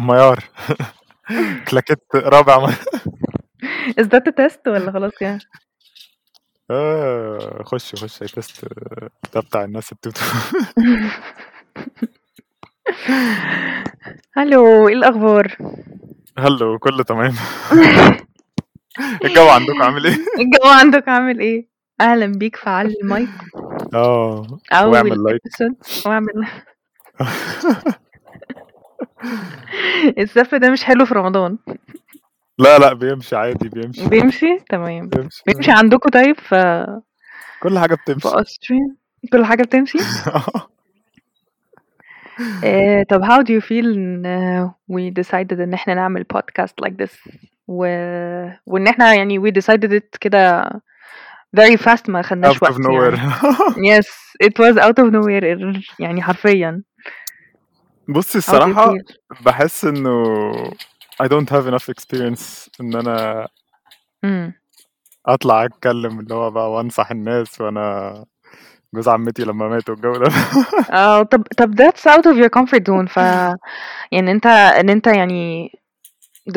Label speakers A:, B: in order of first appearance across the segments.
A: ميار اتلكت رابع م
B: Is that a test والّا خلاص يعني؟
A: آه، خُشّي، خُشّي تيست آه، ده بتاع الناس التوتو.
B: ألو، إيه الأخبار؟
A: هالو، كُلّه تمام. الجو عندكم عامل إيه؟
B: الجو عندك عامل إيه؟ أهلًا بيك في علّي المايك.
A: آه،
B: أول
A: واعمل لايك.
B: episode واعمل السَف ده مش حلو في رمضان.
A: لا، لأ، بيمشي عادي، بيمشي.
B: بيمشي؟ تمام.
A: بيمشي،
B: بيمشي
A: آه.
B: عندكم طيب ف
A: كل حاجة
B: في
A: بتمشي.
B: أستراليا كل حاجة بتمشي؟
A: آه.
B: آآ، آه، طب how do you feel إن آه، we decided إن إحنا نعمل podcast like this و وإن إحنا يعني we decided it كده very fast ما
A: Out
B: خدناش
A: of
B: وقت
A: nowhere.
B: يعني. Yes it was out of nowhere يعني حرفيًا.
A: بُصّي
B: How do you
A: الصراحة
B: feel؟
A: باحس إنه I don't have enough experience إن أنا
B: إمم.
A: أطلع أتكلّم اللي هو بقى وأنصح الناس وأنا جوز عمتي لمّا مات والجو ده.
B: آه، طب طب that's out of your comfort zone ف يعني أنت إن أنت يعني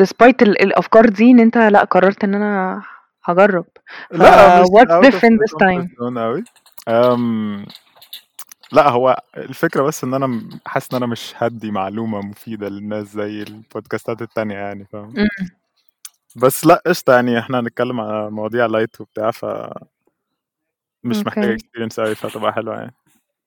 B: despite ال الأفكار دي إن أنت لأ، قررت إن أنا هاجرّب ف
A: لأ، مش
B: آه، what's
A: out of
B: different
A: the
B: this
A: comfort
B: time؟
A: zone أوي. آمم، لأ، هو الفكرة بس إن أنا م حاسس إن أنا مش هادّي معلومة مفيدة للناس زي البودكاستات التانية يعني فاهمة؟
B: إمم.
A: بس لأ، قشطة يعني إحنا هنتكلّم على مواضيع light وبتاع ف مش محتاجة
B: أوكي.
A: experience أوي فهتبقى حلوة يعني.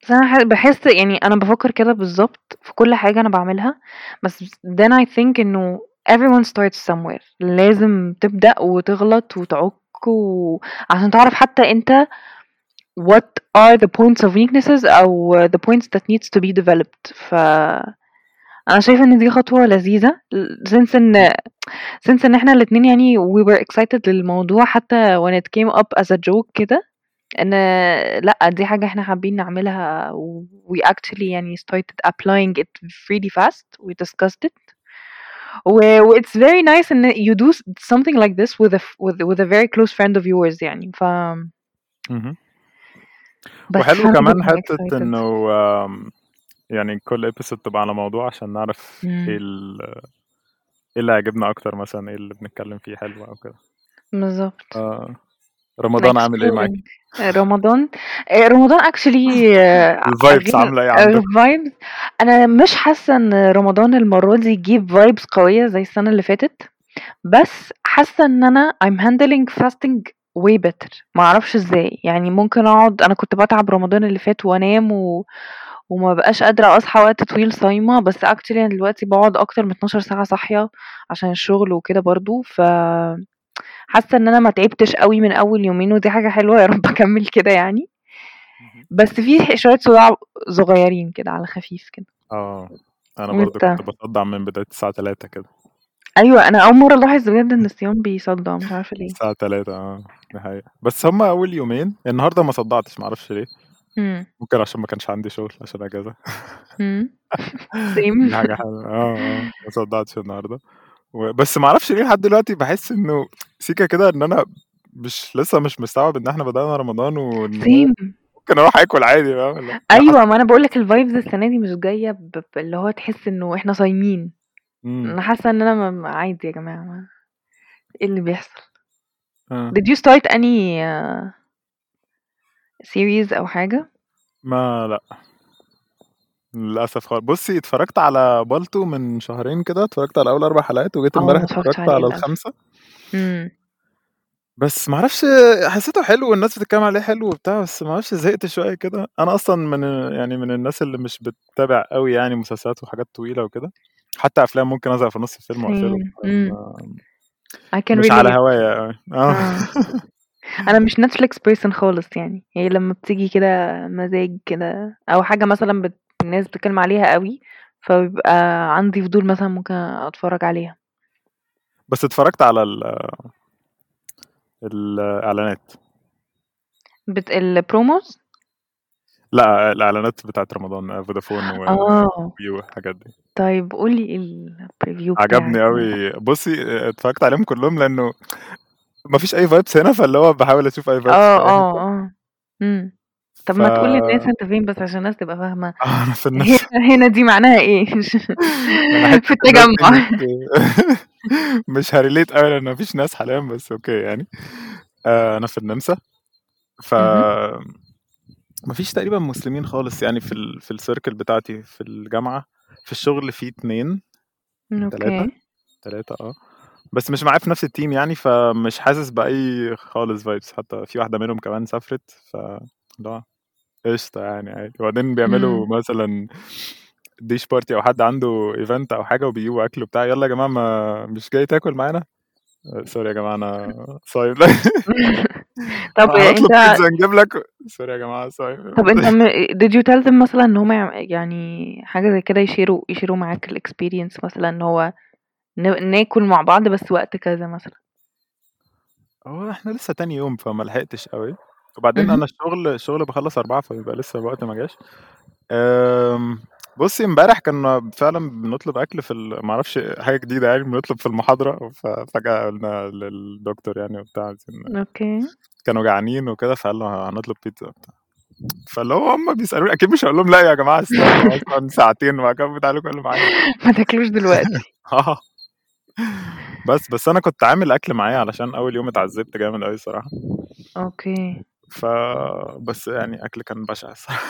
B: بس أنا ح باحس يعني أنا بافكّر كده بالضبط في كل حاجة أنا باعملها، بس then I think إنه everyone starts somewhere لازم تبدأ وتغلط وتعُك و عشان تعرف حتى أنت what are the points of weaknesses أو the points that needs to be developed ف أنا شايفة إن دي خطوة لذيذة ل since إن
A: إمم.
B: since إن إحنا الاتنين يعني we were excited للموضوع حتى when it came up as a joke كده إن لأ، دي حاجة إحنا حابين نعملها we actually يعني started applying it really fast we discussed it و وit's very nice إن you do something like this with a f with with a very close friend of yours يعني ف
A: اهم.
B: بس
A: وحلو
B: فأنا
A: كمان
B: جدًا
A: حتّة
B: excited.
A: إنه آمم، يعني كل episode تبقى على موضوع عشان نعرف إيه
B: إمم.
A: ال إيه اللي هيعجبنا أكتر مثلًا، إيه اللي بنتكلّم فيه حلو أو كده.
B: بالضبط.
A: آه. رمضان عامل إيه معاكِ؟
B: exploring رمضان آآ، رمضان actually آه،
A: الvibes
B: غير
A: عاملة إيه
B: غير
A: عندكم؟
B: آه، vibes أنا مش حاسة إن رمضان المرّة دي يجيب vibes قوية زي السنة اللي فاتت، بس حاسة إن أنا I'm handling fasting way better ما أعرفش إزاي، يعني ممكن أقعد أنا كنت باتعب رمضان اللي فات وأنام و وما أبقاش قادرة أصحى وقت طويل صايمة، بس actually أنا دلوقتي باقعد أكتر من 12 ساعة صاحية عشان الشغل وكده برضه ف حاسة إن أنا ما تعبتش أوي من أول يومين ودي حاجة حلوة يا رب أكمّل كده يعني.
A: اهم.
B: بس في ح شوية صداع صغيّرين كده على خفيف كده.
A: آه. أنا برضه كنت
B: وأنت؟
A: باصدّع من بداية الساعة 15:00 كده.
B: أيوه، أنا أول مرّة ألاحظ بجد إن الصيام بيصدّع مش عارفة ليه.
A: الساعة 15:00 آه، دي حقيقة. بس هم أول يومين النهارده ما صدّعتش ما أعرفش ليه،
B: إمم.
A: ممكن عشان ما كانش عندي شغل عشان إجازة.
B: إمم. same
A: دي حاجة حلوة آه، آه، ما صدّعتش النهارده و بس ما أعرفش ليه لحد دلوقتي باحس إنه سيكة كده إن أنا مش لسه مش مستوعب إن إحنا بدأنا رمضان وإن
B: same.
A: ممكن أروح آكل عادي فاهمة اللي هو أنا حاسس
B: أيوه، ما أنا باقول لك الvibes السنة دي مش جاية ب باللي هو تحس إنه إحنا صايمين.
A: إمم.
B: أنا حاسة إن أنا ما ما عادي يا جماعة ما إيه اللي بيحصل؟
A: آه.
B: Did you start any uh, series أو حاجة؟
A: ما لأ. للأسف خال بُصّي اتفرّجت على بالطو من شهرين كده، اتفرّجت على أول 4 حلقات وجيت
B: آه،
A: امبارح
B: ما اتفرّجتش
A: اتفرّجت
B: عليه
A: على
B: للأسف.
A: الخامسة.
B: إمم.
A: بس ما أعرفش حسّيته حلو والناس بتتكلّم عليه حلو وبتاع، بس ما أعرفش زهقت شوية كده. أنا أصلًا من يعني من الناس اللي مش بتتابع أوي يعني مسلسلات وحاجات طويلة وكده، حتى أفلام ممكن أزهق في نُص الفيلم وأقفله
B: same إمم.
A: فما
B: I can
A: مش على
B: relate.
A: هوايا أوي آه.
B: آه. أنا مش Netflix person خالص يعني، هي لمّا بتيجي كده مزاج كده أو حاجة مثلًا بت الناس بتتكلّم عليها أوي، فبيبقى عندي فضول مثلًا ممكن أتفرّج عليها.
A: بس اتفرّجت على ال الإعلانات.
B: بت الpromos؟
A: لأ، الإعلانات بتاعة رمضان فودافون و
B: آه.
A: ويو والحاجات دي.
B: طيب قُل لي إيه الpreview بتاعك آه،
A: عجبني
B: كده؟
A: أوي. بُصّي آآ، اتفرّجت عليهم كلّهم لإنه ما فيش أي vibes هنا، فاللي هو باحاول أشوف أي vibes
B: آه،
A: في أي
B: آه،
A: حتّة.
B: آه. إمم. طب
A: يعني ف
B: ما تقول للناس أنت فين بس عشان الناس تبقى فاهمة
A: آه، أنا في
B: هنا
A: الناس
B: هنا دي معناها إيه
A: ما أنا حتة
B: في
A: الناس دي مش
B: التجمع
A: مش هاريليت أوي لأن ما فيش ناس حاليًا بس أوكي يعني. آآ أنا في النمسا، ف
B: اهم.
A: ما فيش تقريبًا مسلمين خالص يعني في ال في الcircle بتاعتي في الجامعة، في الشغل في 2 3
B: أوكي.
A: 3 آه، بس مش معايا في نفس الteam يعني فمش حاسس بأي خالص vibes حتى في واحدة منهم كمان سافرت ف اللي هو قشطة يعني عادي، وبعدين بيعملوا
B: إمم.
A: مثلًا dish party أو حد عنده event أو حاجة وبيجيبوا أكل وبتاع يالّا يا جماعة ما مش جاي تاكل معانا؟ آآ sorry يا جماعة أنا صايم
B: طب
A: هنطلب
B: أنت
A: بيتزا نجيب لكم sorry يا جماعة صايم
B: طب أنت م did you tell them مثلًا إن هُم يع يعني حاجة زي كده يشيروا يشيروا معاك الexperience مثلًا إن هو ن ناكل مع بعض بس وقت كذا مثلًا؟
A: هو إحنا لسه تاني يوم فما لحقتش أوي، وبعدين أنا
B: اهم.
A: الشغل الشغل باخلّص 16:00 فبيبقى لسه الوقت ما جاش. آمم، بُصّي امبارح كنا فعلًا بنطلب أكل في ال ما أعرفش حاجة جديدة يعني بنطلب في المحاضرة ففجأة قلنا للدكتور يعني وبتاع عايزين
B: أوكي.
A: كانوا جعانين وكده فقالوا هنطلب بيتزا وبتاع، فاللي هو هُم بيسألوني أكيد مش هاقول لهم لأ يا جماعة استنوا أصلًا ساعتين وبعد كده تعالوا كلوا معانا وبتاع.
B: ما تاكلوش دلوقتي.
A: آه. بس، بس أنا كنت عامل أكل معايا علشان أول يوم اتعذبت جامد أوي الصراحة.
B: أوكي.
A: ف بس يعني أكل كان بشع الصراحة.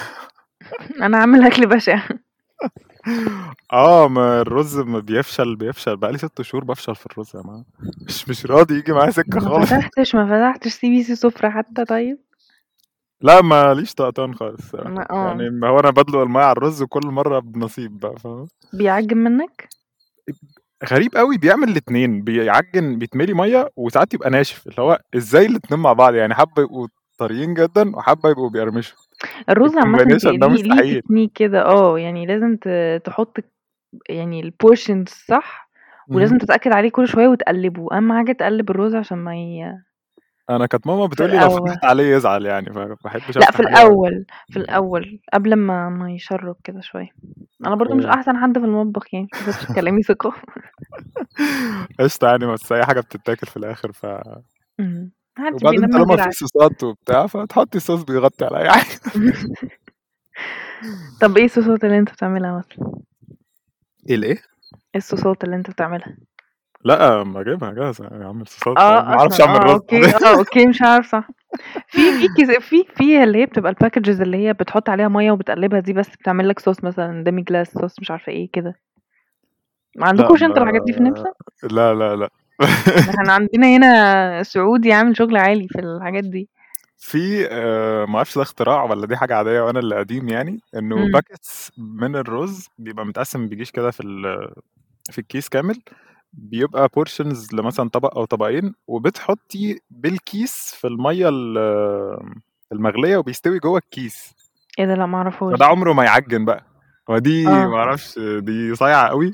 B: أنا عامل أكل بشع.
A: آه، ما الرز ما بيفشل بيفشل بقى لي 6 شهور بافشل في الرز يا جماعة، مش مش راضي ييجي معايا سكة
B: ما
A: خالص.
B: فتحتش ما فتحتش CBC سفرة حتى طيب؟
A: لأ، ما ليش طقطان خالص الصراحة،
B: ما
A: يعني
B: آه.
A: ما هو أنا بادلق المَيّة على الرز وكل مرّة بنصيب بقى فاهمة؟
B: بيعجّن منك؟
A: غريب أوي بيعمل الاتنين، بيعجّن بيتملي مَيّة وساعات يبقى ناشف، اللي هو إزاي الاتنين مع بعض يعني حبّة يبقوا طريين جدًا وحبّة يبقوا بيقرمشوا،
B: الرز عامةً
A: الcombination
B: بي
A: ده
B: ليه ليه
A: مستحيل.
B: تكنيك كده آه، يعني لازم ت تحط يعني الportions صح،
A: اهم.
B: ولازم تتأكد عليه كل شوية وتقلّبه، أهم حاجة تقلّب الرز عشان ما ي
A: أنا كانت ماما
B: في
A: بتقول لي لو
B: الأول.
A: فتحت عليه يزعل يعني فما باحبش
B: لأ، في
A: أفتح عليه أوي.
B: الأول، في الأول قبل ما ما يشرّب كده شوية. أنا برضه مش
A: أوكي.
B: أحسن حد في المطبخ يعني، ما تاخدش كلامي ثقة.
A: قشطة يعني بس هي حاجة بتتاكل في الآخر ف
B: إمم، ما حدش
A: وبعدين
B: بينمّي
A: طالما في
B: غير
A: صوصات وبتاع فتحطي صوص بيغطي على أي حاجة.
B: طب إيه الصوصات اللي أنت بتعملها مثلًا؟
A: إيه الإيه؟
B: إيه الصوصات اللي أنت بتعملها؟
A: لأ، ما أجيبها جاهزة يعني أعمل صوصات فاهم، ما
B: آه، أصلًا
A: أعرفش أعمل
B: آه،
A: رز.
B: أوكي، آه، أوكي مش عارفة صح. في في كذا في في اللي هي بتبقى الpackages اللي هي بتحط عليها مَيّة وبتقلّبها دي بس بتعمل لك صوص مثلًا demi glace صوص مش عارفة إيه كده. ما
A: لأ،
B: عندكوش
A: ما
B: أنتوا الحاجات دي في النمسا؟
A: لا، لا، لأ.
B: ده إحنا عندنا هنا سعودي عامل شغل عالي في الحاجات دي.
A: في آآ، ما أعرفش ده اختراع والّا دي حاجة عادية وأنا اللي قديم يعني، إنه
B: إمم.
A: packets من الرز بيبقى متقسّم بيجيش كده في ال في الكيس كامل، بيبقى portions لمثلًا طبق أو طبقين وبتحطّي بالكيس في المَيّة ال آه، المغلية وبيستوي جوّه الكيس.
B: إيه ده؟ لأ، ما أعرفوش
A: فده
B: ده.
A: عمره ما يعجّن بقى، ودي
B: آه.
A: ما أعرفش دي صايعة أوي،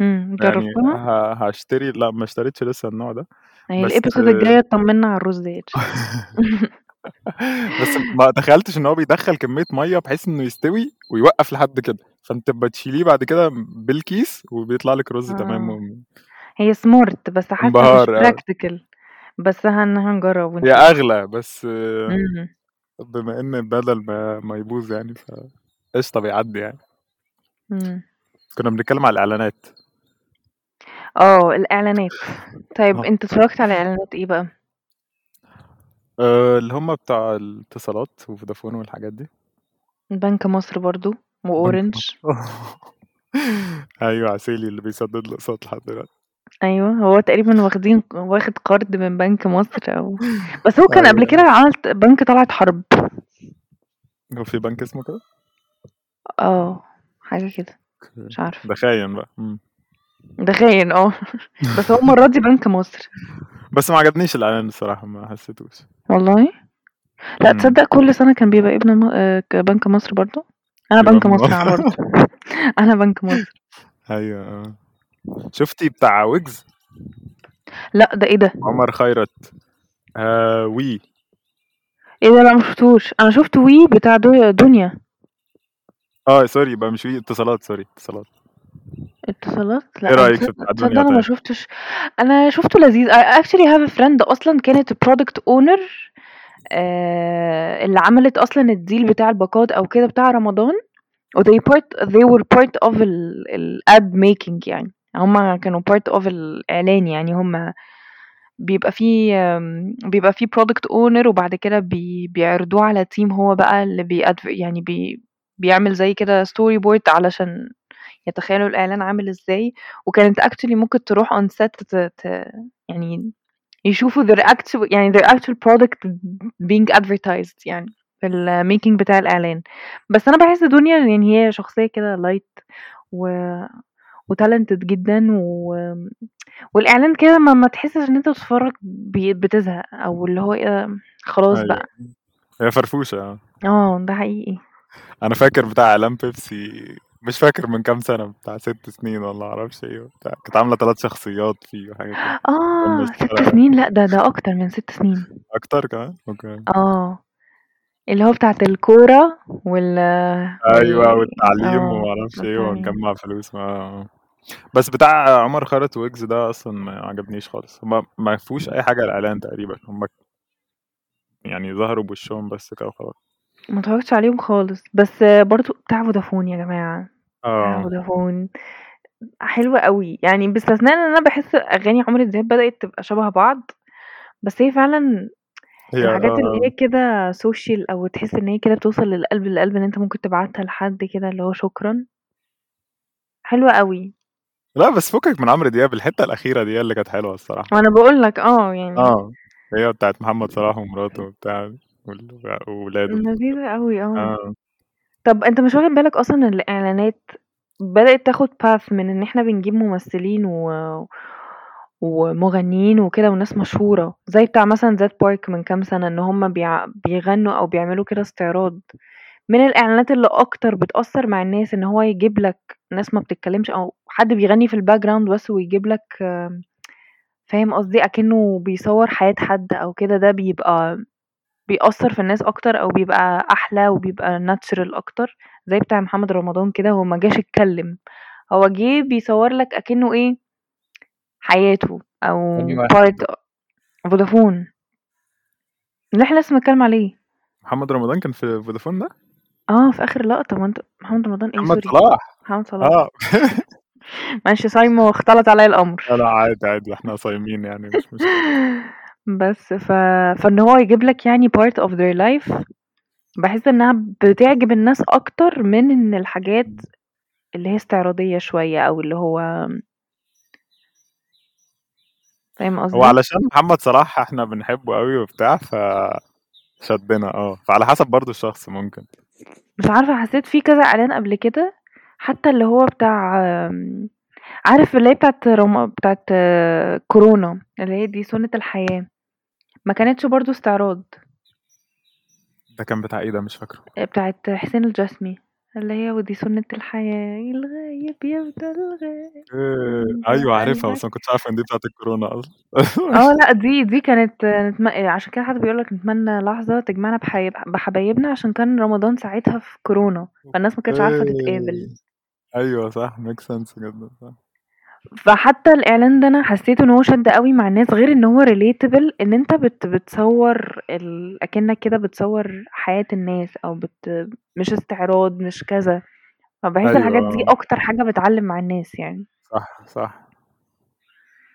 B: إمم،
A: يعني
B: جرّبتها؟
A: ه هاشتري لأ، ما اشتريتش لسه النوع ده،
B: هي
A: بس
B: الepisode الجاية تطمّنا على الرز يا تشا.
A: بس ما تخيّلتش إن هو بيدخّل كمية مَيّة بحيث إنه يستوي ويوقّف لحد كده، فأنتِ بتشيليه بعد كده بالكيس وبيطلع لِك رز تمام
B: آه،
A: وم
B: هي smart بس حاسة مش
A: انبهار آه.
B: practical بس هن هنجرّب وإن
A: هي
B: شاء الله.
A: أغلى بس
B: إمم.
A: بما إن بدل ما ما يبوظ يعني فقشطة بيعدّي يعني.
B: إمم.
A: كنا بنتكلم على الإعلانات.
B: آه، الإعلانات. طيب
A: آه.
B: أنت اتفرّجت على إعلانات إيه بقى؟
A: آآ، آه، اللي هُم بتاع الاتصالات وفودافون والحاجات دي.
B: بنك مصر برضه
A: بنك
B: وorange.
A: مصر أيوه، عسيلي اللي بيسدد الأقساط لحد دلوقتي.
B: أيوه، هو تقريبًا واخدين واخد قرض من بنك مصر أو بس هو كان قبل
A: أيوه،
B: كده
A: أيوه.
B: عمل ت بنك طلعت حرب.
A: هو في بنك اسمه كده؟
B: آه، حاجة كده،
A: أوكي،
B: مش عارفة.
A: ده خاين بقى، إمم.
B: ده خاين آه، بس هو المرّة دي بنك مصر.
A: بس ما عجبنيش الإعلان الصراحة، ما حسيتوش.
B: والله؟ لأ،
A: إمم.
B: تصدق كل سنة كان بيبقى ابن م آآ، ك بنك مصر برضه؟ أنا
A: بيبقى
B: بنك
A: من
B: مصر على برضه، أنا بنك مصر.
A: أيوه، آه. شُفتِ بتاع ويجز؟
B: لأ، ده إيه ده؟
A: عمر خيرت، آآ، وي.
B: إيه ده؟ لأ، ما شفتوش، أنا شُفت وي بتاع دو دنيا.
A: آه، sorry يبقى مش وي، اتصالات sorry اتصالات.
B: اتصالات؟
A: إيه
B: لأ، أنا
A: رأيك في
B: تصدق
A: بتاع
B: تصدق
A: دنيا
B: أنا ما
A: طيب؟
B: شُفتش أنا شُفته لذيذ I actually have a friend أصلًا كانت product owner آآ اللي عملت أصلًا الdeal بتاع الباقات أو كده بتاع رمضان they part they were part of ال الad making يعني هُم كانوا part of الإعلان يعني هُم بيبقى في آمم بيبقى في product owner وبعد كده بي بيعرضوه على team هو بقى اللي بيأدف يعني بي بيعمل زي كده storyboard علشان يتخيلوا الإعلان عامل إزاي، وكانت actually ممكن تروح on set ت ت يعني يشوفوا their actual يعني their actual product being advertised يعني في الmaking بتاع الإعلان. بس أنا باحس دنيا يعني هي شخصية كده light و وtalented جدًا وآمم والإعلان كده ما ما تحسش إن أنت بتتفرج ب بتزهق أو اللي هو إيه ده خلاص
A: أيوه،
B: بقى.
A: هي فرفوشة آه.
B: آه، ده حقيقي.
A: أنا فاكر بتاع إعلان بيبسي مش فاكر من كام سنة، بتاع 6 سنين والّا ما أعرفش إيه وبتاع، كانت عاملة 3 شخصيات فيه وحاجة كده، كان
B: آه، 6
A: بيشتري
B: سنين لأ ده ده أكتر من 6 سنين.
A: أكتر كمان؟ أوكي.
B: آه، اللي هو بتاعة الكورة وال
A: أيوه،
B: وال
A: والتعليم
B: آه،
A: وما أعرفش إيه
B: والتعليم.
A: ونجمّع فلوس آه، آه. بس بتاع عمر خيرت وويجز ده أصلًا ما عجبنيش خالص، هُم ما فيهوش أي حاجة الإعلان تقريبًا، هُم يعني ظهروا بوشهم بس كده وخلاص.
B: ما اتفرجتش عليهم خالص، بس برضه بتاع فودافون يا جماعة، بتاع
A: آه.
B: فودافون حلو أوي، يعني باستثناء إن أنا باحس أغاني عمرو دياب بدأت تبقى شبه بعض، بس هي فعلًا
A: هي
B: الحاجات اللي
A: آه.
B: هي كده social أو تحس إن هي كده بتوصل من القلب للقلب إن أنت ممكن تبعتها لحد كده اللي هو شكرًا. حلوة أوي.
A: لأ، بس فكك من عمرو دياب، الحتة الأخيرة دي هي اللي كانت حلوة الصراحة.
B: ما أنا باقول لك آه، يعني
A: آه، هي بتاعة محمد صلاح ومراته وبتاع وال وولاده.
B: لذيذة أوي آه.
A: آه.
B: طب أنت مش واخد بالك أصلًا إن الإعلانات بدأت تاخد path من إن إحنا بنجيب ممثلين و ومغنيين وكده وناس مشهورة، زي بتاع مثلًا زد بارك من كام سنة إن هُم بيع بيغنوا أو بيعملوا كده استعراض، من الإعلانات اللي أكتر بتأثر مع الناس إن هو يجيب لك ناس ما بتتكلمش أو حد بيغني في الbackground بس ويجيب لك آمم فاهم قصدي؟ أكنه بيصور حياة حد أو كده، ده بيبقى بيأثر في الناس أكتر أو بيبقى أحلى وبيبقى natural أكتر، زي بتاع محمد رمضان كده هو ما جاش اتكلم، هو جه بيصور لك أكنه إيه، حياته
A: أنهي
B: أو
A: واحد
B: part
A: ده؟
B: فودافون. اللي إحنا لسه بنتكلم عليه.
A: محمد رمضان كان في فودافون ده؟
B: آه، في آخر لقطة ما أنت محمد رمضان إيه
A: محمد
B: سوري،
A: صلاح،
B: محمد صلاح.
A: آه.
B: معلش سايمو اختلط عليَّ الأمر.
A: آه، لا، لأ، عادي، عادي، إحنا صايمين يعني مش مشكلة.
B: بس ف فإن هو يجيب لك يعني part of their life باحس إنها بتعجب الناس أكتر من إن الحاجات اللي هي استعراضية شوية أو اللي هو آمم فاهم
A: هو
B: قصدي؟
A: علشان محمد صلاح إحنا بنحبه أوي وبتاع فشدِّنا آه، فعلى حسب برضه الشخص ممكن.
B: مش عارفة حسيت في كذا إعلان قبل كده، حتى اللي هو بتاع آمم عارف اللي هي بتاعة رم بتاعة كورونا اللي هي دي سنة الحياة، ما كانتش برضه استعراض.
A: ده كان بتاع إيه ده؟ مش فاكره.
B: آآ بتاعة حسين الجسمي، اللي هي ودي سنة الحياة الغايب يفضل غايب
A: آآ
B: وأنت
A: أيوه عارفها،
B: قلبك
A: بس ما كنتش عارف إن دي بتاعة الكورونا أصلًا.
B: آه، لأ، دي دي كانت نتم عشان كده حد بيقول لك نتمنى لحظة تجمعنا بحي بحبايبنا عشان كان رمضان ساعتها في كورونا، فالناس ما كانتش عارفة تتقابل.
A: أوكي. أيوه صح make sense جدًا، صح.
B: فحتى الإعلان ده أنا حسيت إن هو شد أوي مع الناس، غير إن هو relatable إن أنت بت بتصور ال أكنك كده بتصور حياة الناس أو بت مش استعراض، مش كذا، فباحس
A: أيوه،
B: الحاجات دي
A: آه.
B: أكتر حاجة بتعلّم مع الناس يعني.
A: صح، صح.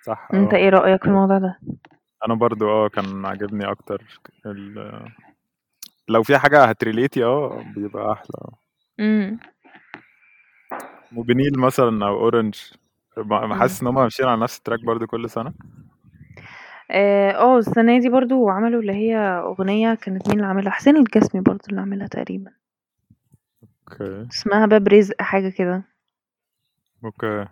A: صح،
B: أنت
A: آه.
B: إيه رأيك في الموضوع ده؟
A: أنا برضه آه، كان عاجبني أكتر ال لو في حاجة هتريليتي آه، بيبقى أحلى آه.
B: إمم.
A: موبينيل مثلًا أو أورنج، ب
B: إمم.
A: حاسس إن هُم ماشيين على نفس الtrack برضه كل سنة؟
B: آآ آه، السنة دي برضه عملوا اللي هي أغنية كانت مين اللي عاملها؟ حسين الجسمي برضه اللي عاملها تقريبًا.
A: أوكي.
B: اسمها باب رزق حاجة كده.
A: أوكي.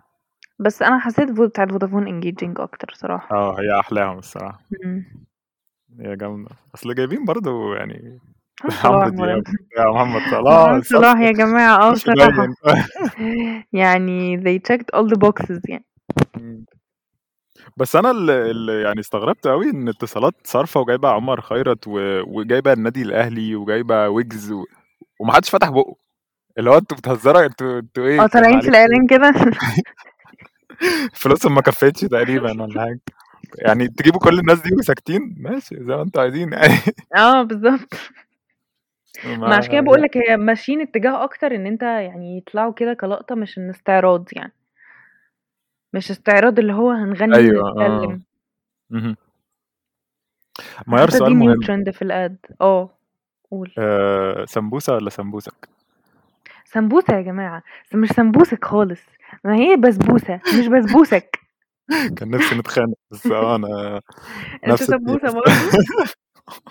B: بس أنا حسيت فو بتاعة فودافون engaging أكتر صراحة.
A: آه، هي أحلاهم الصراحة.
B: إمم.
A: هي جامدة، أصل جايبين برضه يعني
B: محمد آه، صلاح
A: عمرو دياب
B: برضه
A: وبتاع ومحمد صلاح
B: محمد
A: بس
B: صلاح يا جماعة آه
A: مش مبين
B: بصراحة، يعني they checked all the boxes يعني.
A: إمم. بس أنا ال ال يعني استغربت أوي إن اتصالات صارفة وجايبة عمر خيرت و وجايبة النادي الأهلي وجايبة ويجز و وما حدش فتح بُقُّه، اللي هو أنتم بتهزروا أنتم أنتم إيه كان
B: آه، طالعين في
A: عليكم إيه؟
B: الإعلان كده.
A: فلوسهم ما كفتش تقريبًا والّا حاجة. يعني تجيبوا كل الناس دي وساكتين ماشي زي ما أنتم عايزين يعني
B: آه بالضبط. ما عشان كده
A: ما يعني
B: باقول لك هي ماشيين اتجاه أكتر إن أنت يعني يطلعوا كده كلقطة مش إن استعراض يعني. مش استعراض اللي هو هنغني
A: أيوه آه.
B: ونتكلم.
A: اهم. ميّار
B: حاسة دي
A: سؤال
B: new
A: مهم.
B: trend في الad آه، قُل.
A: آآ، سمبوسة والّا سمبوسك؟
B: سمبوسة يا جماعة، س مش سمبوسك خالص، ما هي بسبوسة مش بسبوسك.
A: كان نفسي نتخانق بس آه، أنا
B: أنت
A: نفس التيم
B: سمبوسة برضه؟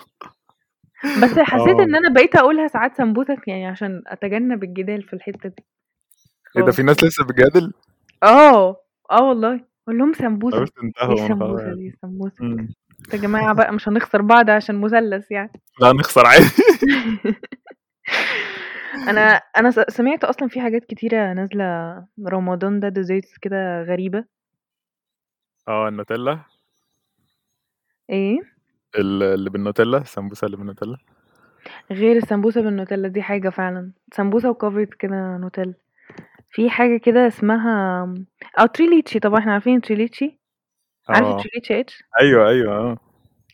B: بس حسيت
A: آه.
B: إن أنا بقيت أقولها ساعات سمبوسك يعني عشان أتجنب الجدال في الحتة دي
A: إيه ده في
B: خالص
A: ناس
B: يعني.
A: لسه بتجادل؟
B: آه، آه والله، أقول لهم سمبوسة،
A: خلاص
B: إيه
A: انتهوا أنا خلاص
B: السمبوسة
A: يعني.
B: دي سمبوسك،
A: إمم.
B: أنتم يا جماعة بقى مش هنخسر بعض عشان مثلث يعني.
A: لأ نخسر عادي.
B: أنا أنا س سمعت أصلًا في حاجات كتيرة نازلة رمضان ده desserts كده غريبة.
A: آه، النوتيلا.
B: إيه؟
A: ال اللي بالنوتيلا، السمبوسة اللي بالنوتيلا.
B: غير السمبوسة بالنوتيلا دي حاجة فعلًا، سمبوسة وcovered كده نوتيلا. في حاجة كده اسمها آمم، آه تريليتشي طبعًا إحنا عارفين تريليتشي، عارف
A: آه،
B: التريليتشي H؟
A: أيوه، أيوه، آه.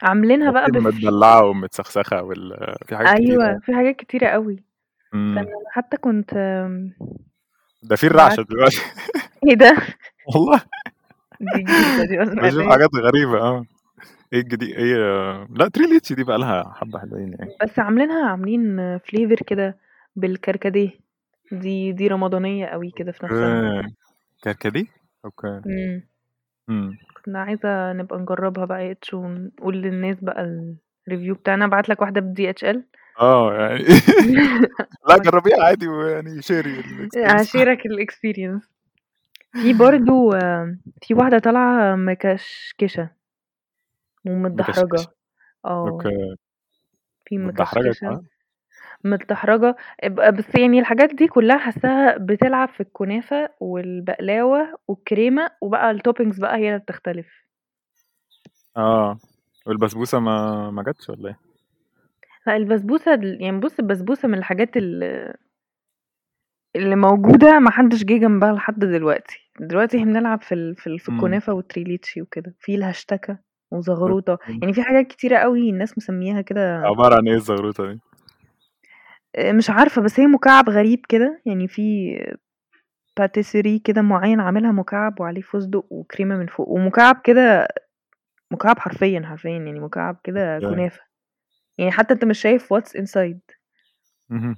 B: عاملينها بقى
A: أكيد
B: بفي
A: متدلعة ومتسخسخة وال في حاجات كتير
B: أيوه،
A: آه.
B: في حاجات كتيرة أوي. استنى
A: إمم.
B: أنا حتى كنت آمم،
A: ده في
B: بعت
A: الرعشة دلوقتي.
B: إيه ده؟
A: والله
B: دي جديدة دي ما
A: باشوف
B: سمعتهاش.
A: حاجات غريبة آه. إيه الجدي إيه لأ تريليتشي دي بقى لها حبة حلوين يعني.
B: بس عاملينها عاملين flavor كده بالكركديه، دي دي رمضانية أوي كده في نفس الوقت.
A: أوكي. آه. كركديه؟ أوكي.
B: إمم.
A: إمم.
B: كنا عايزة نبقى نجربها بقى H ونقول للناس بقى الreview بتاعنا، أبعت لك واحدة بDHL.
A: آه، يعني لأ
B: هابعت
A: جربيها عادي ويعني
B: آه،
A: شيري الexperience.
B: هاشيرك الexperience. في برضه آمم، في واحدة طالعة مكشكشة.
A: مكشكشة.
B: ومتدحرجة، آه.
A: أوكي.
B: في
A: متدحرجة
B: مكشكشة،
A: كمان؟
B: متدحرجة، ب بس يعني الحاجات دي كلها حاساها بتلعب في الكنافة والبقلاوة والكريمة وبقى الtoppings بقى هي اللي بتختلف.
A: آه، والبسبوسة ما ما جاتش والّا إيه؟
B: لأ البسبوسة ال يعني بُص البسبوسة من الحاجات ال اللي موجودة ما حدش جه جنبها لحد دلوقتي، دلوقتي إحنا بنلعب في ال في ال في
A: إمم.
B: الكنافة والتريليتشي وكده، في الهشتكة وزغروطة،
A: أوكي.
B: يعني في حاجات كتيرة أوي الناس مسمياها كده
A: عبارة عن إيه الزغروطة دي؟
B: آآ، مش عارفة بس هي مكعب غريب كده، يعني في patisserie كده معين عاملها مكعب وعليه فستق وكريمة من فوق، ومكعب كده مكعب حرفيًا، حرفيًا يعني مكعب كده
A: أوكي.
B: كنافة، يعني حتى أنت مش شايف what's inside.
A: اهم.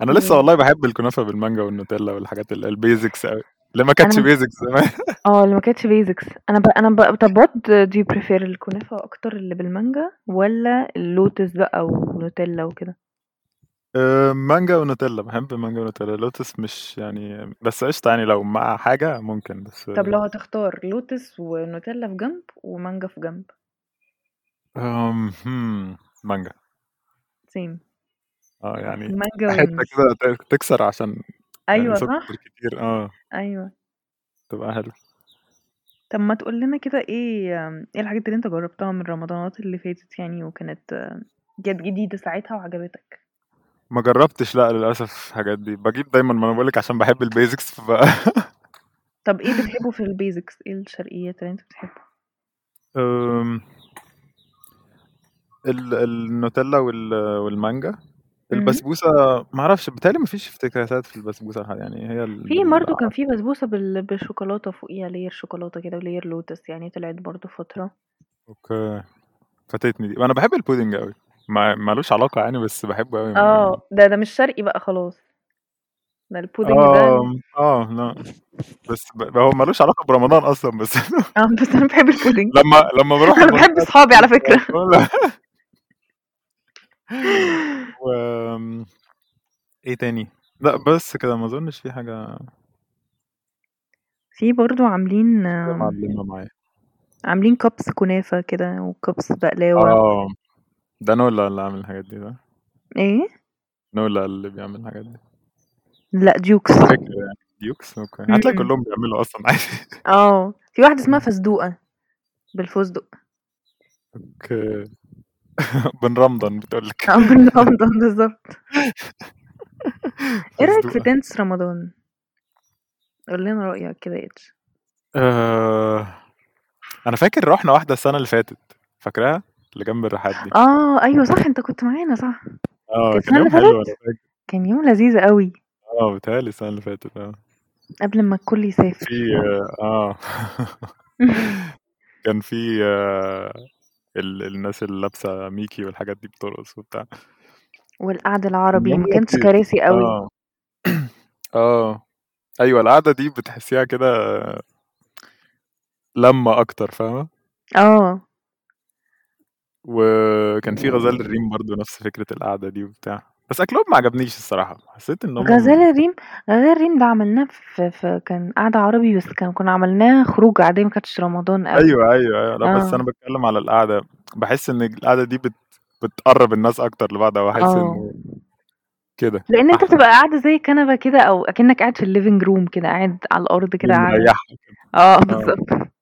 A: أنا لسه
B: و
A: والله باحب الكنافة بالمانجا والنوتيلا والحاجات ال الbasics أوي، اللي ما
B: أنا
A: كانتش
B: م
A: basics زمان.
B: آه اللي ما كانتش basics أنا ب أنا ب طب what do you prefer الكنافة أكتر اللي بالمانجا والّا اللوتس بقى ونوتيلا وكده؟
A: آآ، آه، مانجا ونوتيلا، باحب مانجا ونوتيلا، اللوتس مش يعني بس قشطة يعني لو مع حاجة ممكن بس
B: طب لو هتختار لوتس ونوتيلا في جنب ومانجا في جنب؟
A: آمم، إمم، مانجا.
B: same.
A: آه، يعني
B: المانجا
A: حتة
B: wins.
A: كده ت تكسر عشان يعني
B: أيوه
A: سكر
B: صح.
A: كتير آه.
B: أيوه.
A: تبقى حلوة.
B: طب ما تقول لنا كده إيه آمم، إيه الحاجات اللي أنت جربتها من رمضانات اللي فاتت يعني وكانت كانت جديدة ساعتها وعجبتك؟
A: ما جربتش لأ للأسف الحاجات دي، باجيب دايمًا ما أنا باقول لك عشان باحب الbasics ف
B: طب إيه بتحبه في الbasics إيه الشرقيات اللي أنت بتحبه؟
A: آمم. ال النوتيلا وال والمانجا،
B: اهم.
A: البسبوسة ما أعرفش بيتهيألي ما فيش افتكاسات في البسبوسة ح يعني هي اللي
B: في
A: بال
B: برضه كان في بسبوسة بال بالشوكولاتة فوقيها layer شوكولاتة كده وlayer لوتس يعني طلعت برضه فترة.
A: أوكي، فاتتني دي، وأنا باحب الpudding أوي، ما ما لوش علاقة يعني بس باحبه أوي ما
B: آه، ده ده مش شرقي بقى خلاص. ده الpudding ده ال
A: آه، آه، لأ، بس ب هو ما لوش علاقة برمضان أصلًا بس
B: آه، بس أنا باحب الpudding
A: لما لما باروح
B: أنا باحب
A: البازارات
B: صحابي على
A: بتبقى
B: فكرة.
A: الفل وآمم، آمم، إيه تاني؟ لأ بس كده ما أظنش في حاجة
B: في برضه عاملين
A: كده
B: آمم
A: معلمة معايا.
B: عاملين cups كنافة كده وcups بقلاوة.
A: آه، ده نولا اللي عامل الحاجات دي صح؟
B: إيه؟
A: نولا اللي بيعمل الحاجات دي.
B: لأ ديوكس.
A: فاكر يعني ديوكس؟ أوكي، هتلاقي
B: إمم.
A: كلهم بيعملوا أصلًا عادي.
B: آه، في واحدة اسمها
A: إمم.
B: فزدوقة، بالفستق.
A: أوكي، بنرمضن بتقول لك.
B: آه، باللمضان بالضبط. إيه رأيك في
A: فزدوقة.
B: dance رمضان؟ قُل لنا رأيك كده يا H.
A: آآ آه، أنا فاكر رُحنا واحدة السنة اللي فاتت، فاكراها؟ اللي جنب الرحاب دي.
B: آه، أيوه صح أنت كنت معانا صح.
A: آه،
B: كانت
A: كان
B: السنة اللي
A: يوم حلو أنا
B: فاتت؟
A: فاكر.
B: كان يوم لذيذ أوي.
A: آه، بيتهيأ لي السنة اللي فاتت آه.
B: قبل ما الكل
A: في
B: يسافر.
A: آه. كان في آه، ال الناس اللي لابسة ميكي والحاجات دي بترقص وبتاع.
B: والقعد
A: كان
B: العربي
A: يوم
B: ما كانتش
A: لطيف.
B: كراسي أوي.
A: آه. آه. أيوه القعدة دي بتحسّيها كده لَمّة أكتر فاهمة؟
B: آه.
A: وكان في غزال الريم برضه نفس فكرة القعدة دي وبتاع، بس أكلهم ما عجبنيش الصراحة، حسّيت إن هم
B: غزال
A: م
B: الريم غزال الريم ده عملناه في في كان قعدة عربي بس كان كنا عملناه خروجة عادية ما كانتش رمضان أوي.
A: أيوه، أيوه، أيوه، لأ بس
B: آه.
A: أنا باتكلّم على القعدة، باحس إن القعدة دي بت بتقرّب الناس أكتر لبعض أو أحس
B: آه.
A: إنه كده
B: لإن أنت
A: أحلى.
B: بتبقى قاعد زي كنبة كده أو أكنّك قاعد في الliving room كده قاعد على الأرض كده قاعدة
A: ومريّحة كده.
B: آه
A: آه.
B: بالضبط.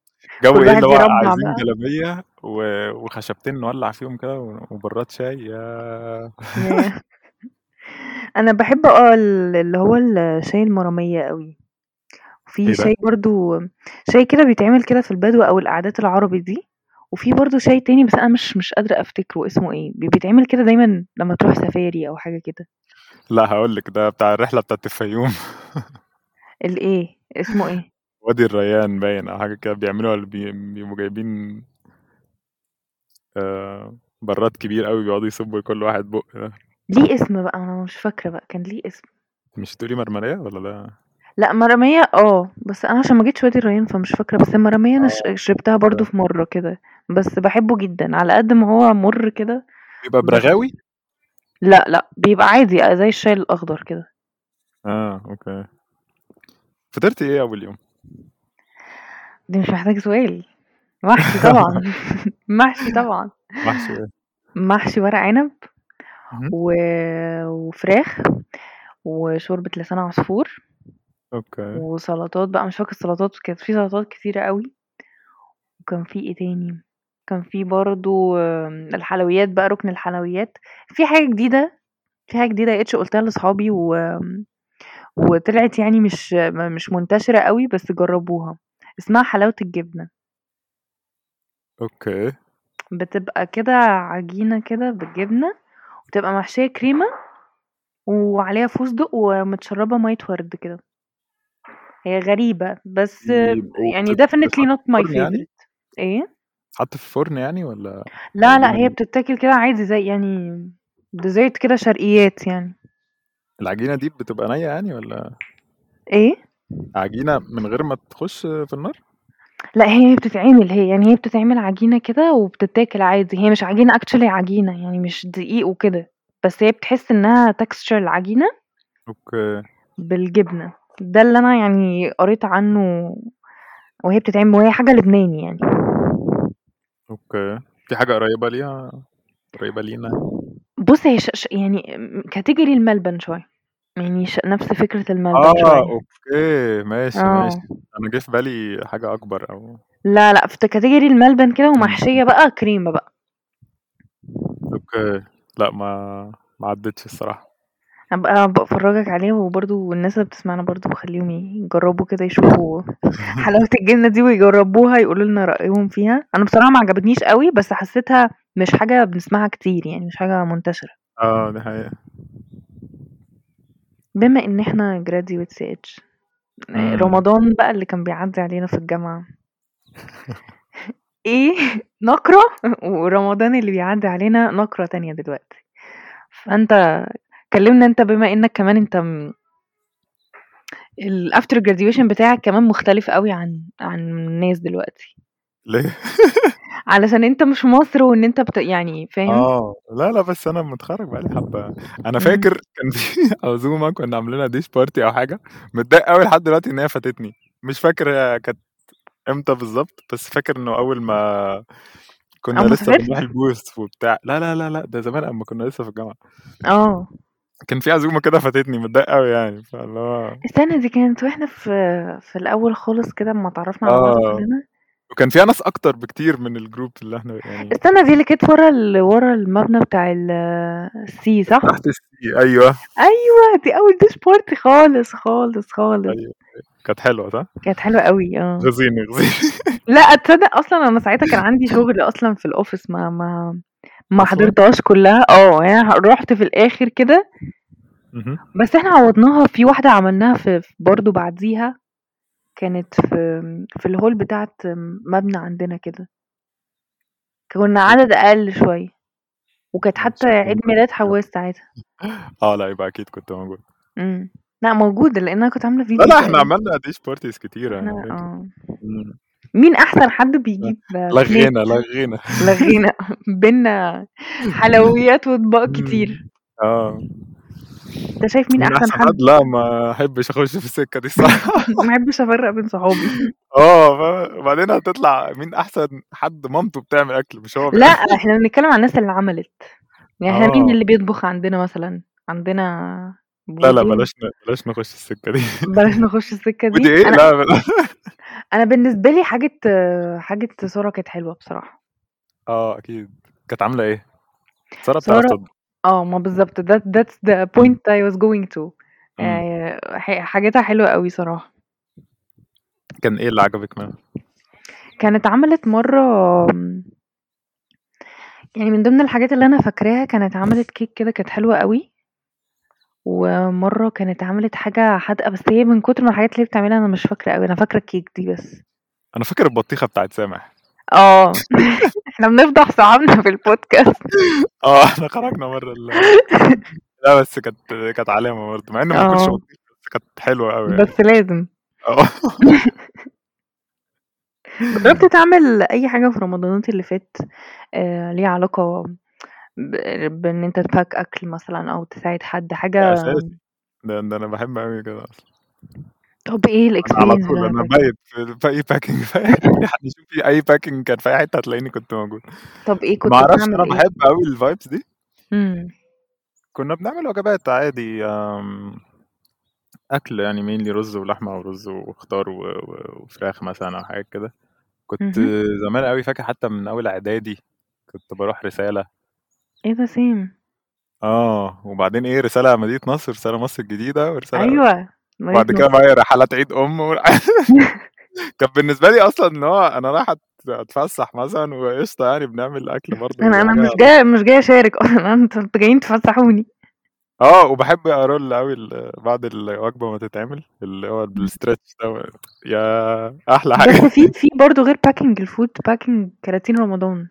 A: جو
B: كل
A: إيه اللي
B: واحد
A: هو
B: بيربّع
A: عايزين
B: بقى.
A: جلابية و وخشبتين نولّع فيهم كده و وبرّاد شاي ياه!
B: ياه! أنا باحب آه ال اللي هو الشاي المرامية أوي. وفي
A: إيه ده؟
B: شاي برضه شاي كده بيتعمل كده في البدوة أو القعدات العربي دي، وفي برضه شاي تاني بس أنا مش مش قادرة أفتكره اسمه إيه، بي بيتعمل كده دايمًا لمّا تروح سفاري أو حاجة كده.
A: لأ هاقول لِك ده بتاع الرحلة بتاعة الفيوم.
B: الإيه؟ اسمه إيه؟
A: وادي الريان باين أو حاجة كده بيعملوها ال بي بيقوموا جايبين آآ، برّاد كبير أوي بيقعدوا يصبّوا لكل واحد بُق ده.
B: ليه اسم بقى، أنا مش فاكرة بقى كان ليه اسم.
A: مش هتقولي مرمرية والّا ده
B: لأ مرامية آه، بس أنا عشان ما جيتش وادي الريان فمش فاكرة، بس المرامية أنا ش
A: آه،
B: شربتها برضه
A: آه.
B: في مرّة كده، بس باحبه جدًا على قد ما هو مُر كده
A: بيبقى
B: بس
A: برغاوي؟
B: لأ، لأ، بيبقى عادي زي الشاي الأخضر كده.
A: آه، أوكي. فطرتِ إيه أول يوم؟
B: دي مش محتاجة سؤال. محشي طبعًا، محشي طبعًا.
A: محشي إيه؟
B: محشي ورق عنب
A: اهم.
B: و وفراخ وشوربة لسان عصفور
A: أوكي.
B: وسلطات بقى مش فاكرة السلطات كانت في سلطات كتيرة أوي. وكان في إيه تاني، كان في برضه آمم، الحلويات بقى رُكن الحلويات، في حاجة جديدة في حاجة جديدة لقيتش قُلتها لأصحابي وآمم، وطلعت يعني مش م مش منتشرة أوي بس جرّبوها، اسمها حلاوة الجبنة.
A: أوكي.
B: بتبقى كده عجينة كده بالجبنة وبتبقى محشية كريمة وعليها فستق ومتشرّبة مَيّة ورد كده. هي غريبة بس
A: بيبقوا
B: يعني
A: بت
B: definitely
A: بتتحط
B: not
A: في
B: my
A: الفرن يعني؟
B: favorite. إيه؟ يعني
A: بتتحط في الفرن يعني والّا
B: لا، لأ،
A: عجينة
B: هي
A: ب
B: بتتاكل كده عادي زي يعني dessert كده شرقيات يعني.
A: العجينة دي بتبقى نيّة يعني والّا؟
B: إيه؟
A: عجينة من غير ما تخش في النار؟
B: لأ هي بتتعمل هي يعني هي بتتعمل عجينة كده وبتتاكل عادي، هي مش عجينة actually عجينة يعني مش دقيق وكده، بس هي بتحس إنها texture العجينة
A: أوكي.
B: بالجبنة، ده اللي أنا يعني قريت عنه وهي بتتعمل وهي حاجة لبناني يعني.
A: أوكي، في حاجة قريّبة ليها قريّبة لينا يعني؟
B: بُص هي ش ش يعني آمم، category الملبن شوية، يعني ش نفس فكرة الملبن
A: آه،
B: شوية.
A: أوكي، ماشي،
B: آه.
A: ماشي. أنا جه في بالي حاجة أكبر أو
B: لا، لأ، في category الملبن كده
A: إمم.
B: ومحشية بقى كريمة بقى.
A: أوكي، لأ ما ما عدّتش الصراحة.
B: هابقى أبقى أفرّجك عليها وبرضه والناس اللي بتسمعنا برضه باخلّيهم يجرّبوا كده يشوفوا حلاوة الجبنة دي ويجرّبوها يقولوا لنا رأيهم فيها، أنا بصراحة ما عجبتنيش أوي بس حسّيتها مش حاجة بنسمعها كتير يعني مش حاجة منتشرة.
A: آه، دي حقيقة.
B: بما إن إحنا graduate CH آآ،
A: إمم.
B: رمضان بقى اللي كان بيعدّي علينا في الجامعة إيه نَقرة ورمضان اللي بيعدّي علينا نَقرة تانية دلوقتي، فأنت كلّمنا أنت بما إنّك كمان أنت م الafter graduation بتاعك كمان مختلف أوي عن عن الناس دلوقتي.
A: ليه؟
B: علشان أنت مش مصري وإن أنت بت يعني فاهم؟
A: آه، لا، لا، بس أنا متخرّج بقى لي حبّة، أنا
B: إمم.
A: فاكر كان في عزومة كنا عاملينها dish party أو حاجة، متضايق أوي لحد دلوقتي إن هي فاتتني، مش فاكر كانت إمتى بالضبط، بس فاكر إنه أول ما كنا
B: أول ما
A: لسه بنروح
B: سافرت؟
A: البوث وبتاع لا، لا، لا، لأ، ده زمان أمّا كنا لسه في الجامعة.
B: آه.
A: كان في عزومة كده فاتتني متضايق أوي يعني، فاللي هو
B: استنى دي كانت وإحنا في في الأول خالص كده أمّا اتعرّفنا على بعض
A: آه،
B: كلّنا؟
A: وكان فيها ناس أكتر بكتير من الgroup اللي إحنا يعني
B: استنى دي اللي كانت ورا ال ورا المبنى بتاع ال الC صح؟
A: تحت الC أيوه.
B: أيوه، دي أول dish party خالص، خالص، خالص.
A: أيوه، أيوه. كانت حلوة صح؟
B: كانت حلوة أوي آه.
A: غزيني غزيني
B: لأ تصدق أصلًا أنا ساعتها كان عندي شغل أصلًا في الoffice ما ما ما
A: أصلًا؟
B: حضرتهاش كلّها آه، يعني أنا رُحت في الآخر كده
A: اهم.
B: بس إحنا عوّضناها في واحدة عملناها في في برضه بعديها كانت في آمم، في الhall بتاعة مبنى عندنا كده. كُنّا عدد أقل شوية، وكانت حتى
A: ماشي
B: عيد ميلاد حواس ساعتها.
A: آه، لأ يبقى أكيد كنت موجود.
B: إمم، لأ موجودة لإن أنا كنت عاملة
A: لا،
B: فيديو
A: لأ إحنا
B: تقريبًا.
A: عملنا dish parties كتيرة أنا
B: إحنا
A: فاكر.
B: آه.
A: إمم.
B: مين أحسن حد
A: ف
B: بيجيب
A: لغينا،
B: snacks
A: لغينا.
B: لغينا بيننا حلويات وأطباق كتير.
A: إمم، آه.
B: أنت شايف مين
A: مين
B: أحسن
A: أحسن حد؟
B: حد؟
A: لأ ما أحبش أخش في السكة دي الصراحة.
B: ما أحبش أفرّق بين صحابي.
A: آه، فاهمة، وبعدين هتطلع مين أحسن حد مامته بتعمل أكل مش هو
B: لأ،
A: بيعمل.
B: إحنا بنتكلم عن الناس اللي عملت، يعني إحنا مين
A: آه.
B: اللي بيطبخ عندنا مثلًا؟ عندنا
A: لا، لأ
B: بوزير
A: بلاش ن بلاش نخش السكة دي.
B: بلاش نخش السكة
A: ودي
B: دي،
A: إيه؟
B: أنا
A: لا بلا
B: أنا بالنسبة لي حاجة حاجة سارة كانت حلوة بصراحة.
A: آه أكيد، كانت عاملة إيه؟ سارة بتعرف
B: سارة
A: تطبخ.
B: آه، ما بالضبط that that's the point I was going to
A: إمم.
B: آآ، ح حاجاتها حلوة أوي صراحة.
A: كان إيه اللي عجبِك منها؟
B: كانت عملت مرّة آمم يعني من ضمن الحاجات اللي أنا فاكراها كانت عملت كيك كده كانت حلوة أوي. ومرّة كانت عملت حاجة حادقة، بس هي من كتر ما الحاجات اللي هي بتعملها أنا مش فاكرة أوي، أنا فاكرة الكيك دي بس.
A: أنا فاكر البطيخة بتاعة سامح.
B: آه، إحنا بنفضح صحابنا في البودكاست.
A: آه، إحنا خرجنا برّه ال لا بس كانت كانت علامة برضه، مع إني ما باكلش
B: آه.
A: بطيخ بس كانت حلوة أوي يعني.
B: بس لازم.
A: آه.
B: جرّبت تعمل أي حاجة في رمضانات اللي فات آآ، ليها علاقة ب بإن أنت تباك أكل مثلًا أو تساعد حد
A: ده
B: حاجة
A: أساسي، ده ده أنا باحب أوي كده أصلًا.
B: طب إيه
A: أنا على
B: الexperience
A: طول أنا
B: بتاعتك؟
A: بايت في في أي packing في أي حد يشوفني أي packing كان في أي حتة هتلاقيني كنت موجود.
B: طب إيه
A: ما
B: كنت
A: أعرفش
B: بتعمل
A: أنا
B: إيه؟
A: باحب أوي الvibes دي.
B: إمم.
A: كنا بنعمل وجبات عادي آمم، أكل يعني mainly رز ولحمة ورز وخضار و و وفراخ مثلًا أو حاجات كده. كنت
B: اهم.
A: زمان أوي فاكر حتى من أول إعدادي كنت باروح رسالة.
B: إيه ده same.
A: آه، وبعدين إيه رسالة مدينة نصر، ورسالة مصر الجديدة، ورسالة
B: أيوه، مدينة
A: وبعد كده
B: نصر.
A: بقى رحلات عيد أم و كان بالنسبة لي أصلًا إن هو أنا رايح أت أتفسح مثلًا وقشطة يعني بنعمل أكل برضه
B: أنا أنا
A: حاجة
B: مش جاية مش جاية أشارك أصلًا أنتم أنتم جايين تفسحوني.
A: آه، وباحب أرول أوي ال بعد الوجبة ما تتعمل اللي هو
B: إمم.
A: الstretch ده ياه! أحلى حاجة.
B: بس في في برضه غير packing الfood packing كراتين رمضان.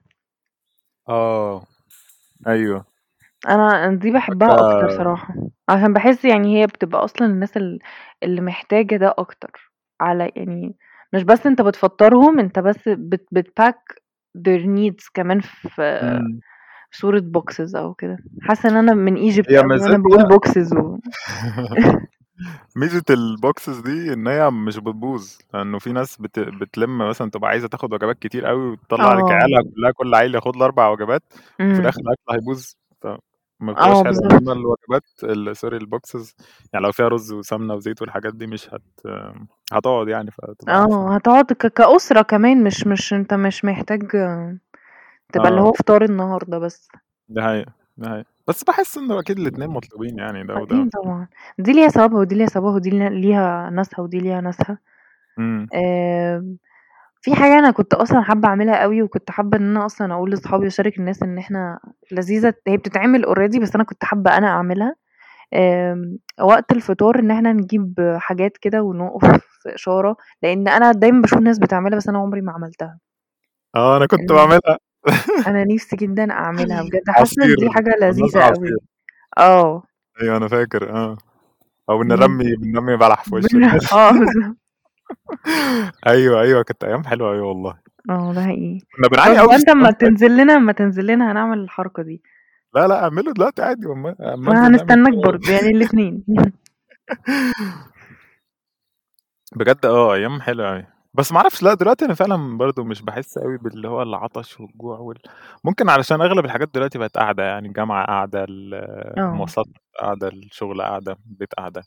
A: آه، أيوه.
B: أنا دي باحبها أكتر
A: فاكرة
B: صراحة، عشان باحس يعني هي بتبقى أصلًا الناس ال اللي محتاجة ده أكتر، على يعني مش بس أنت بتفطّرهم، أنت بس بت بتpack their needs كمان في آه.
A: إمم.
B: في صورة boxes أو كده. حاسة إن أنا من Egypt
A: هي
B: أوي وأنا باقول
A: ميزتها
B: boxes و
A: ميزة الboxes دي إن هي مش بتبوظ، لأنه في ناس بت بتلم مثلًا تبقى عايزة تاخد وجبات كتير أوي وتطلع لك
B: آه.
A: عيالها كلها كل عيل ياخد له 4 وجبات وفي
B: إمم.
A: الآخر الأكل هيبوظ، فما
B: آه
A: بتبقاش حلوة. إنما
B: بالضبط.
A: الوجبات ال sorry الboxes يعني لو فيها رز وسمنة وزيت والحاجات دي مش هت هتقعد يعني فتبقى أحسن.
B: آه، هتقعد ك كأسرة كمان مش مش أنت مش محتاج تبقى اللي هو
A: آه.
B: فطار النهارده بس.
A: دي حقيقة، دي حقيقة. بس باحس إنه أكيد الاتنين مطلوبين يعني ده وده.
B: أكيد طبعًا، دي ليها ثوابها ودي ليها ثوابها ودي ل ليها ناسها ودي ليها ناسها.
A: إمم.
B: آمم، في حاجة أنا كنت أصلًا حابة أعملها أوي وكنت حابة إن أنا أصلًا أقول لصحابي وأشارك الناس إن إحنا لذيذة هي بتتعمل already بس أنا كنت حابة أنا أعملها. آمم، وقت الفطار إن إحنا نجيب حاجات كده ونقف في إشارة، لإن أنا دايمًا باشوف ناس بتعملها بس أنا عمري ما عملتها.
A: آه، أنا كنت
B: إن
A: باعملها.
B: أنا نفسي جدًا أعملها بجد، حاسة إن
A: عصير،
B: دي حاجة
A: كنا
B: لذيذة
A: بنعمل عصير.
B: أوي. آه.
A: أيوه أنا فاكر آه، أو
B: إمم.
A: بنرمي بنرمي بلح في وش
B: بن
A: الناس.
B: آه بالضبط.
A: أيوه، أيوه كانت أيام حلوة أوي والله.
B: آه ده حقيقي.
A: كنا بنعاني
B: طب
A: أوي في
B: وأنت أما
A: الصيام ساعتها.
B: تنزل لنا أما تنزل لنا هنعمل الحركة دي.
A: لا، لأ أعمله دلوقتي عادي أما أما
B: ما
A: أنزل نعمل
B: هنستناك برضه يعني الاتنين.
A: بجد آه، أيام حلوة أوي. بس ما أعرفش لأ دلوقتي أنا فعلًا برضه مش باحس أوي باللي هو العطش والجوع وال ممكن علشان أغلب الحاجات دلوقتي بقت قعدة يعني الجامعة قعدة، ال
B: آه.
A: المواصلات قعدة، الشغل قعدة، البيت قعدة.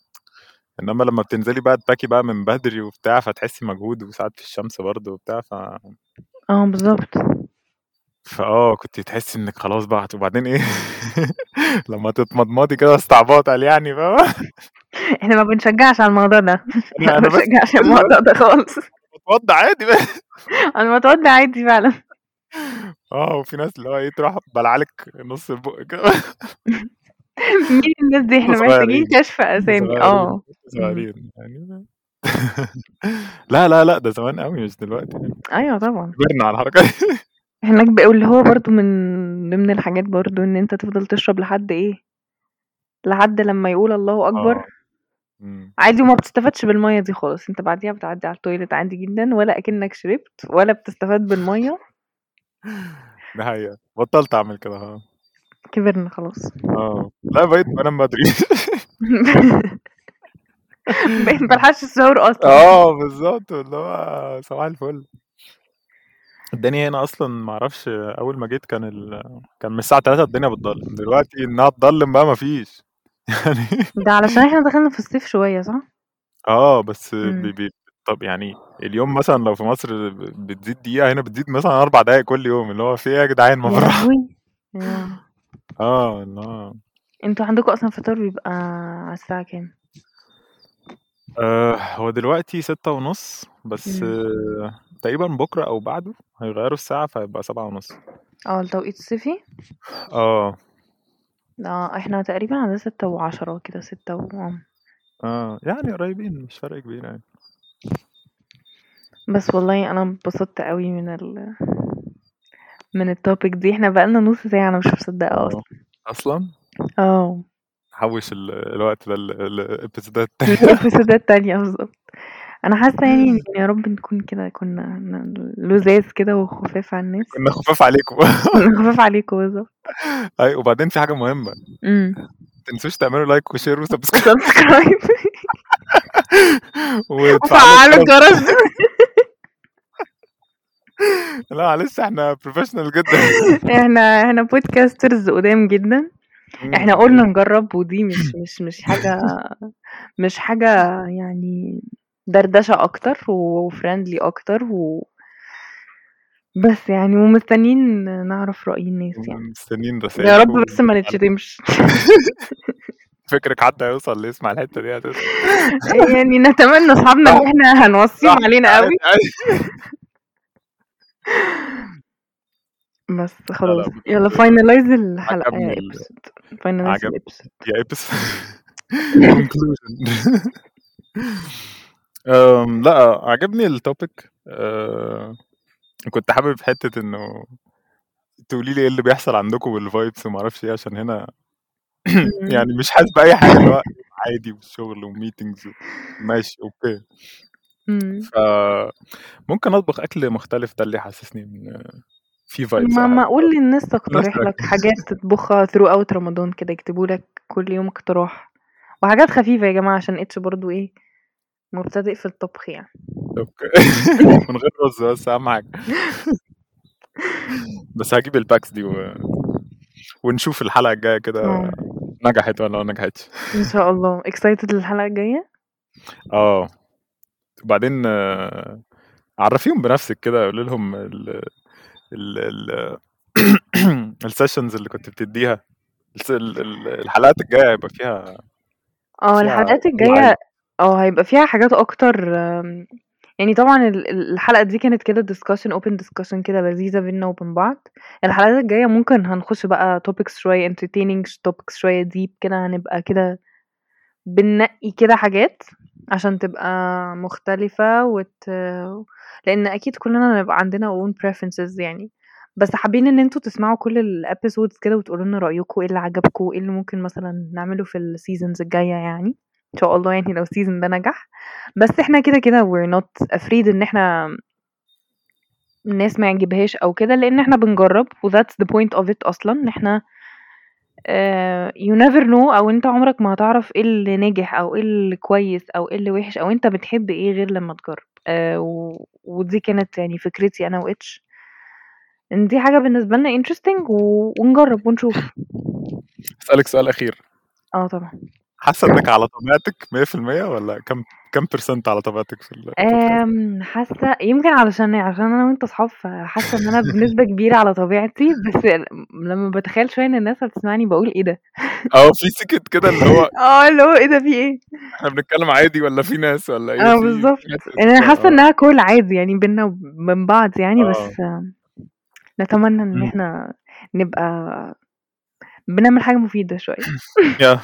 A: إنما لما بتنزلي بقى تباكي بقى من بدري
B: اه،
A: وبتاع فتحسي مجهود وساعات في الشمس برضه وبتاع ف
B: آه بالضبط.
A: فآه، كنتِ بتحسّي إنِّك خلاص بقى هت وبعدين إيه لمّا تتمضمضي كده استعباط قال يعني فاهمة؟
B: إحنا ما بنشجّعش على الموضوع ده،
A: لأ
B: ما
A: أنا بس
B: بنشجّعش على الموضوع ده خالص.
A: باتوضّى عادي بقى.
B: الموضوع ده عادي فعلًا.
A: آه، وفي ناس اللي هو إيه تروح بالعة لِك نُص البُق كده
B: مين الناس دي؟
A: إحنا
B: إحنا
A: صغيّرين،
B: محتاجين كشف
A: إحنا
B: أسامي،
A: صغيّرين،
B: آه،
A: إحنا
B: إمم.
A: صغيّرين يعني لا، لا، لأ، ده زمان أوي مش دلوقتي يعني،
B: أيوه طبعًا.
A: كبرنا على الحركة دي.
B: إحنا كب واللي هو برضه من ضمن الحاجات برضه إن أنت تفضل تشرب لحد إيه، لحد لمّا يقول الله أكبر.
A: آه، إمم.
B: عادي وما بتستفادش بالمَيّة دي خالص، أنت بعديها بتعدّي على الtoilet عادي جدًا ولا أكنّك شربت ولا بتستفاد بالمَيّة.
A: دي حقيقة، بطّلت أعمل كده آه.
B: كبرنا خلاص.
A: آه، لأ بقيت بانام بدري.
B: بقيت ما بالحقش السحور أصلًا.
A: آه، بالضبط، اللي هو صباح الفُل. الدنيا هنا أصلًا ما أعرفش أول ما جيت كان ال كان من الساعة 03:00 الدنيا بتضلّم، دلوقتي إنها تضلّم بقى ما فيش يعني
B: ده علشان إحنا دخلنا في الصيف شوية صح؟
A: آه، بس ب
B: إمم.
A: ب طب يعني اليوم مثلًا لو في مصر ب بتزيد دقيقة، هنا بتزيد مثلًا 4 دقايق كل يوم، اللي هو في إيه يا جدعان ما
B: يا
A: بالراحة.
B: لهوي! ياه!
A: آه، اللي هو
B: أنتم عندكم أصلًا الفطار بيبقى على الساعة كام؟
A: آآ، آه، هو دلوقتي 18:30 بس
B: إمم.
A: تقريبًا بُكرة أو بعده هيغيّروا الساعة فهيبقى 19:30.
B: آه، التوقيت الصيفي؟
A: آه.
B: آه، إحنا تقريبًا على 18:10 كده 18:00 و آه.
A: آه، يعني قريبين مش فرق كبير يعني.
B: بس والله أنا انبسطت أوي من ال من الtopic دي، إحنا بقى لنا نُص ساعة أنا مش مصدّقة
A: آه،
B: أصلًا.
A: أصلًا؟
B: آه.
A: نحوّش ال الوقت ده ل لإبيسودات تانية.
B: لإبيسودات تانية بالضبط، أنا حاسة يعني إن يا رب نكون كده كنا ن لُذاذ كده وخفاف على الناس.
A: كنا خفاف عليكم.
B: كنا خفاف عليكم بالضبط.
A: أيوه، وبعدين في حاجة مهمة، ما
B: إمم.
A: تنسوش تعملوا like وshare وsubscribe
B: subscribe
A: وتفعّلوا
B: وفعّلوا
A: الجرس.
B: الجرس.
A: لأ معلش إحنا professional جدًا.
B: إحنا إحنا podcasters قُدام جدًا، إحنا
A: إمم.
B: قُلنا نجرّب ودي مش مش مش حاجة مش حاجة يعني دردشة أكتر وfriendly أكتر و بس يعني ومستنيين نعرف رأي الناس يعني،
A: ومستنيين
B: يا رب
A: رسايلكم
B: بس ما
A: وتفعّلوا
B: نتشتمش.
A: فكرِك حد هيوصل اللي يسمع الحتّة دي أساسًا.
B: يعني نتمنى أصحابنا
A: صح،
B: اللي إحنا
A: صح،
B: هنوصّيهم علينا
A: تعالي،
B: أوي.
A: تعالي.
B: بس
A: لا، لأ
B: خلاص، يالّا
A: بجد
B: finalize الحلقة
A: عجبني
B: يا
A: ال
B: episode finalize
A: عجبني
B: الepisode.
A: يا episode conclusion آمم، لأ عجبني الtopic آآ، كنت حابب حتّة إنه تقولي لي إيه اللي بيحصل عندكم والvibes وما أعرفش إيه، عشان هنا
B: إمم.
A: يعني مش حاسس بأي حاجة، اللي هو عادي والشغل وmeetings ماشي أوكي.
B: إمم.
A: فممكن أطبخ أكل مختلف ده اللي يحسسني إن في vibes
B: ما
A: أو حاجة
B: معقول الناس تقترح لك حاجات تطبخها throughout رمضان كده، يكتبوا لك كل يوم اقتراح، وحاجات خفيفة يا جماعة عشان H برضه إيه، مبتدئ في الطبخ يعني.
A: أوكي، من غير رز بس أهم حاجة. بس هاجيب الpacks دي و ونشوف الحلقة الجاية كده
B: آه.
A: نجحت والّا ما نجحتش.
B: إن شاء الله excited للحلقة الجاية؟
A: آه، وبعدين عرّفيهم بنفسِك كده، قولي لهم ال ال ال الsessions اللي كنتِ بتدّيها الس ال ال الحلقات الجاية هيبقى فيها
B: آه،
A: فيها ألعاب.
B: الحلقات الجاية آه، هيبقى فيها حاجات أكتر آمم، يعني طبعًا ال ال الحلقة دي كانت كده discussion open discussion كده لذيذة بيننا وبين بعض، الحلقات الجاية ممكن هنخش بقى topics شوية entertaining topics شوية deep كده هنبقى كده بننقي كده حاجات عشان تبقى مختلفة وت لإن أكيد كلنا هيبقى عندنا own preferences يعني، بس حابين إن أنتم تسمعوا كل الepisodes كده وتقولوا لنا رأيكم إيه اللي عجبكم، إيه اللي ممكن مثلًا نعمله في الseasons الجاية يعني، إن شاء الله يعني لو الseason ده نجح، بس إحنا كده كده we're not afraid إن إحنا الناس ما يعجبهاش أو كده، لإن إحنا بنجرّب وthats the point of it أصلًا إن إحنا آآ you never know أو أنت عمرك ما هتعرف إيه اللي ناجح أو إيه اللي كويس أو إيه اللي وِحِش أو أنت بتحب إيه غير لمّا تجرّب آآ، و ودي كانت يعني فكرتي أنا وH إن دي حاجة بالنسبة لنا interesting و ونجرّب ونشوف.
A: هاسألِك سؤال أخير.
B: آه، طبعًا.
A: حاسة إنِّك على طبيعتِك 100% والّا كام كام percent على طبيعتِك في ال في الكلام؟
B: آمم، حاسة يمكن علشان إيه؟ عشان أنا وأنت أصحاب، فحاسة إن أنا بنسبة كبيرة على طبيعتي، بس ل لمّا باتخيل شوية إن الناس هتسمعني باقول إيه ده؟
A: آه، في سِكة كده اللي هو
B: آه، اللي هو إيه ده في إيه؟
A: إحنا بنتكلم عادي والّا في ناس والّا إيه
B: آه،
A: في
B: بالضبط،
A: في حتة
B: يعني أنا
A: كده
B: حاسة
A: آه.
B: إنها call عادي يعني بيننا وبين بعض يعني،
A: آه.
B: بس نتمنى إن
A: إمم.
B: إحنا نبقى بنعمل حاجة مفيدة شوية.
A: ياه!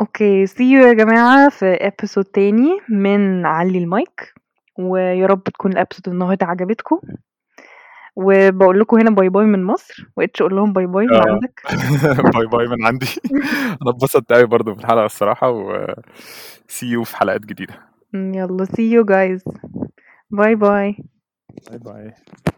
B: أوكي، see you يا جماعة في episode تاني من علِّي المايك، ويا رب تكون الepisode النهارده عجبتكم، وباقول لكم هنا باي باي من مصر، وإتش قُل لهم باي باي من
A: آه،
B: عندك.
A: باي باي من عندي، أنا اتبسطت أوي برضه في الحلقة الصراحة، و see you في حلقات جديدة.
B: إمم، يالّا see you guys، باي باي.
A: باي باي.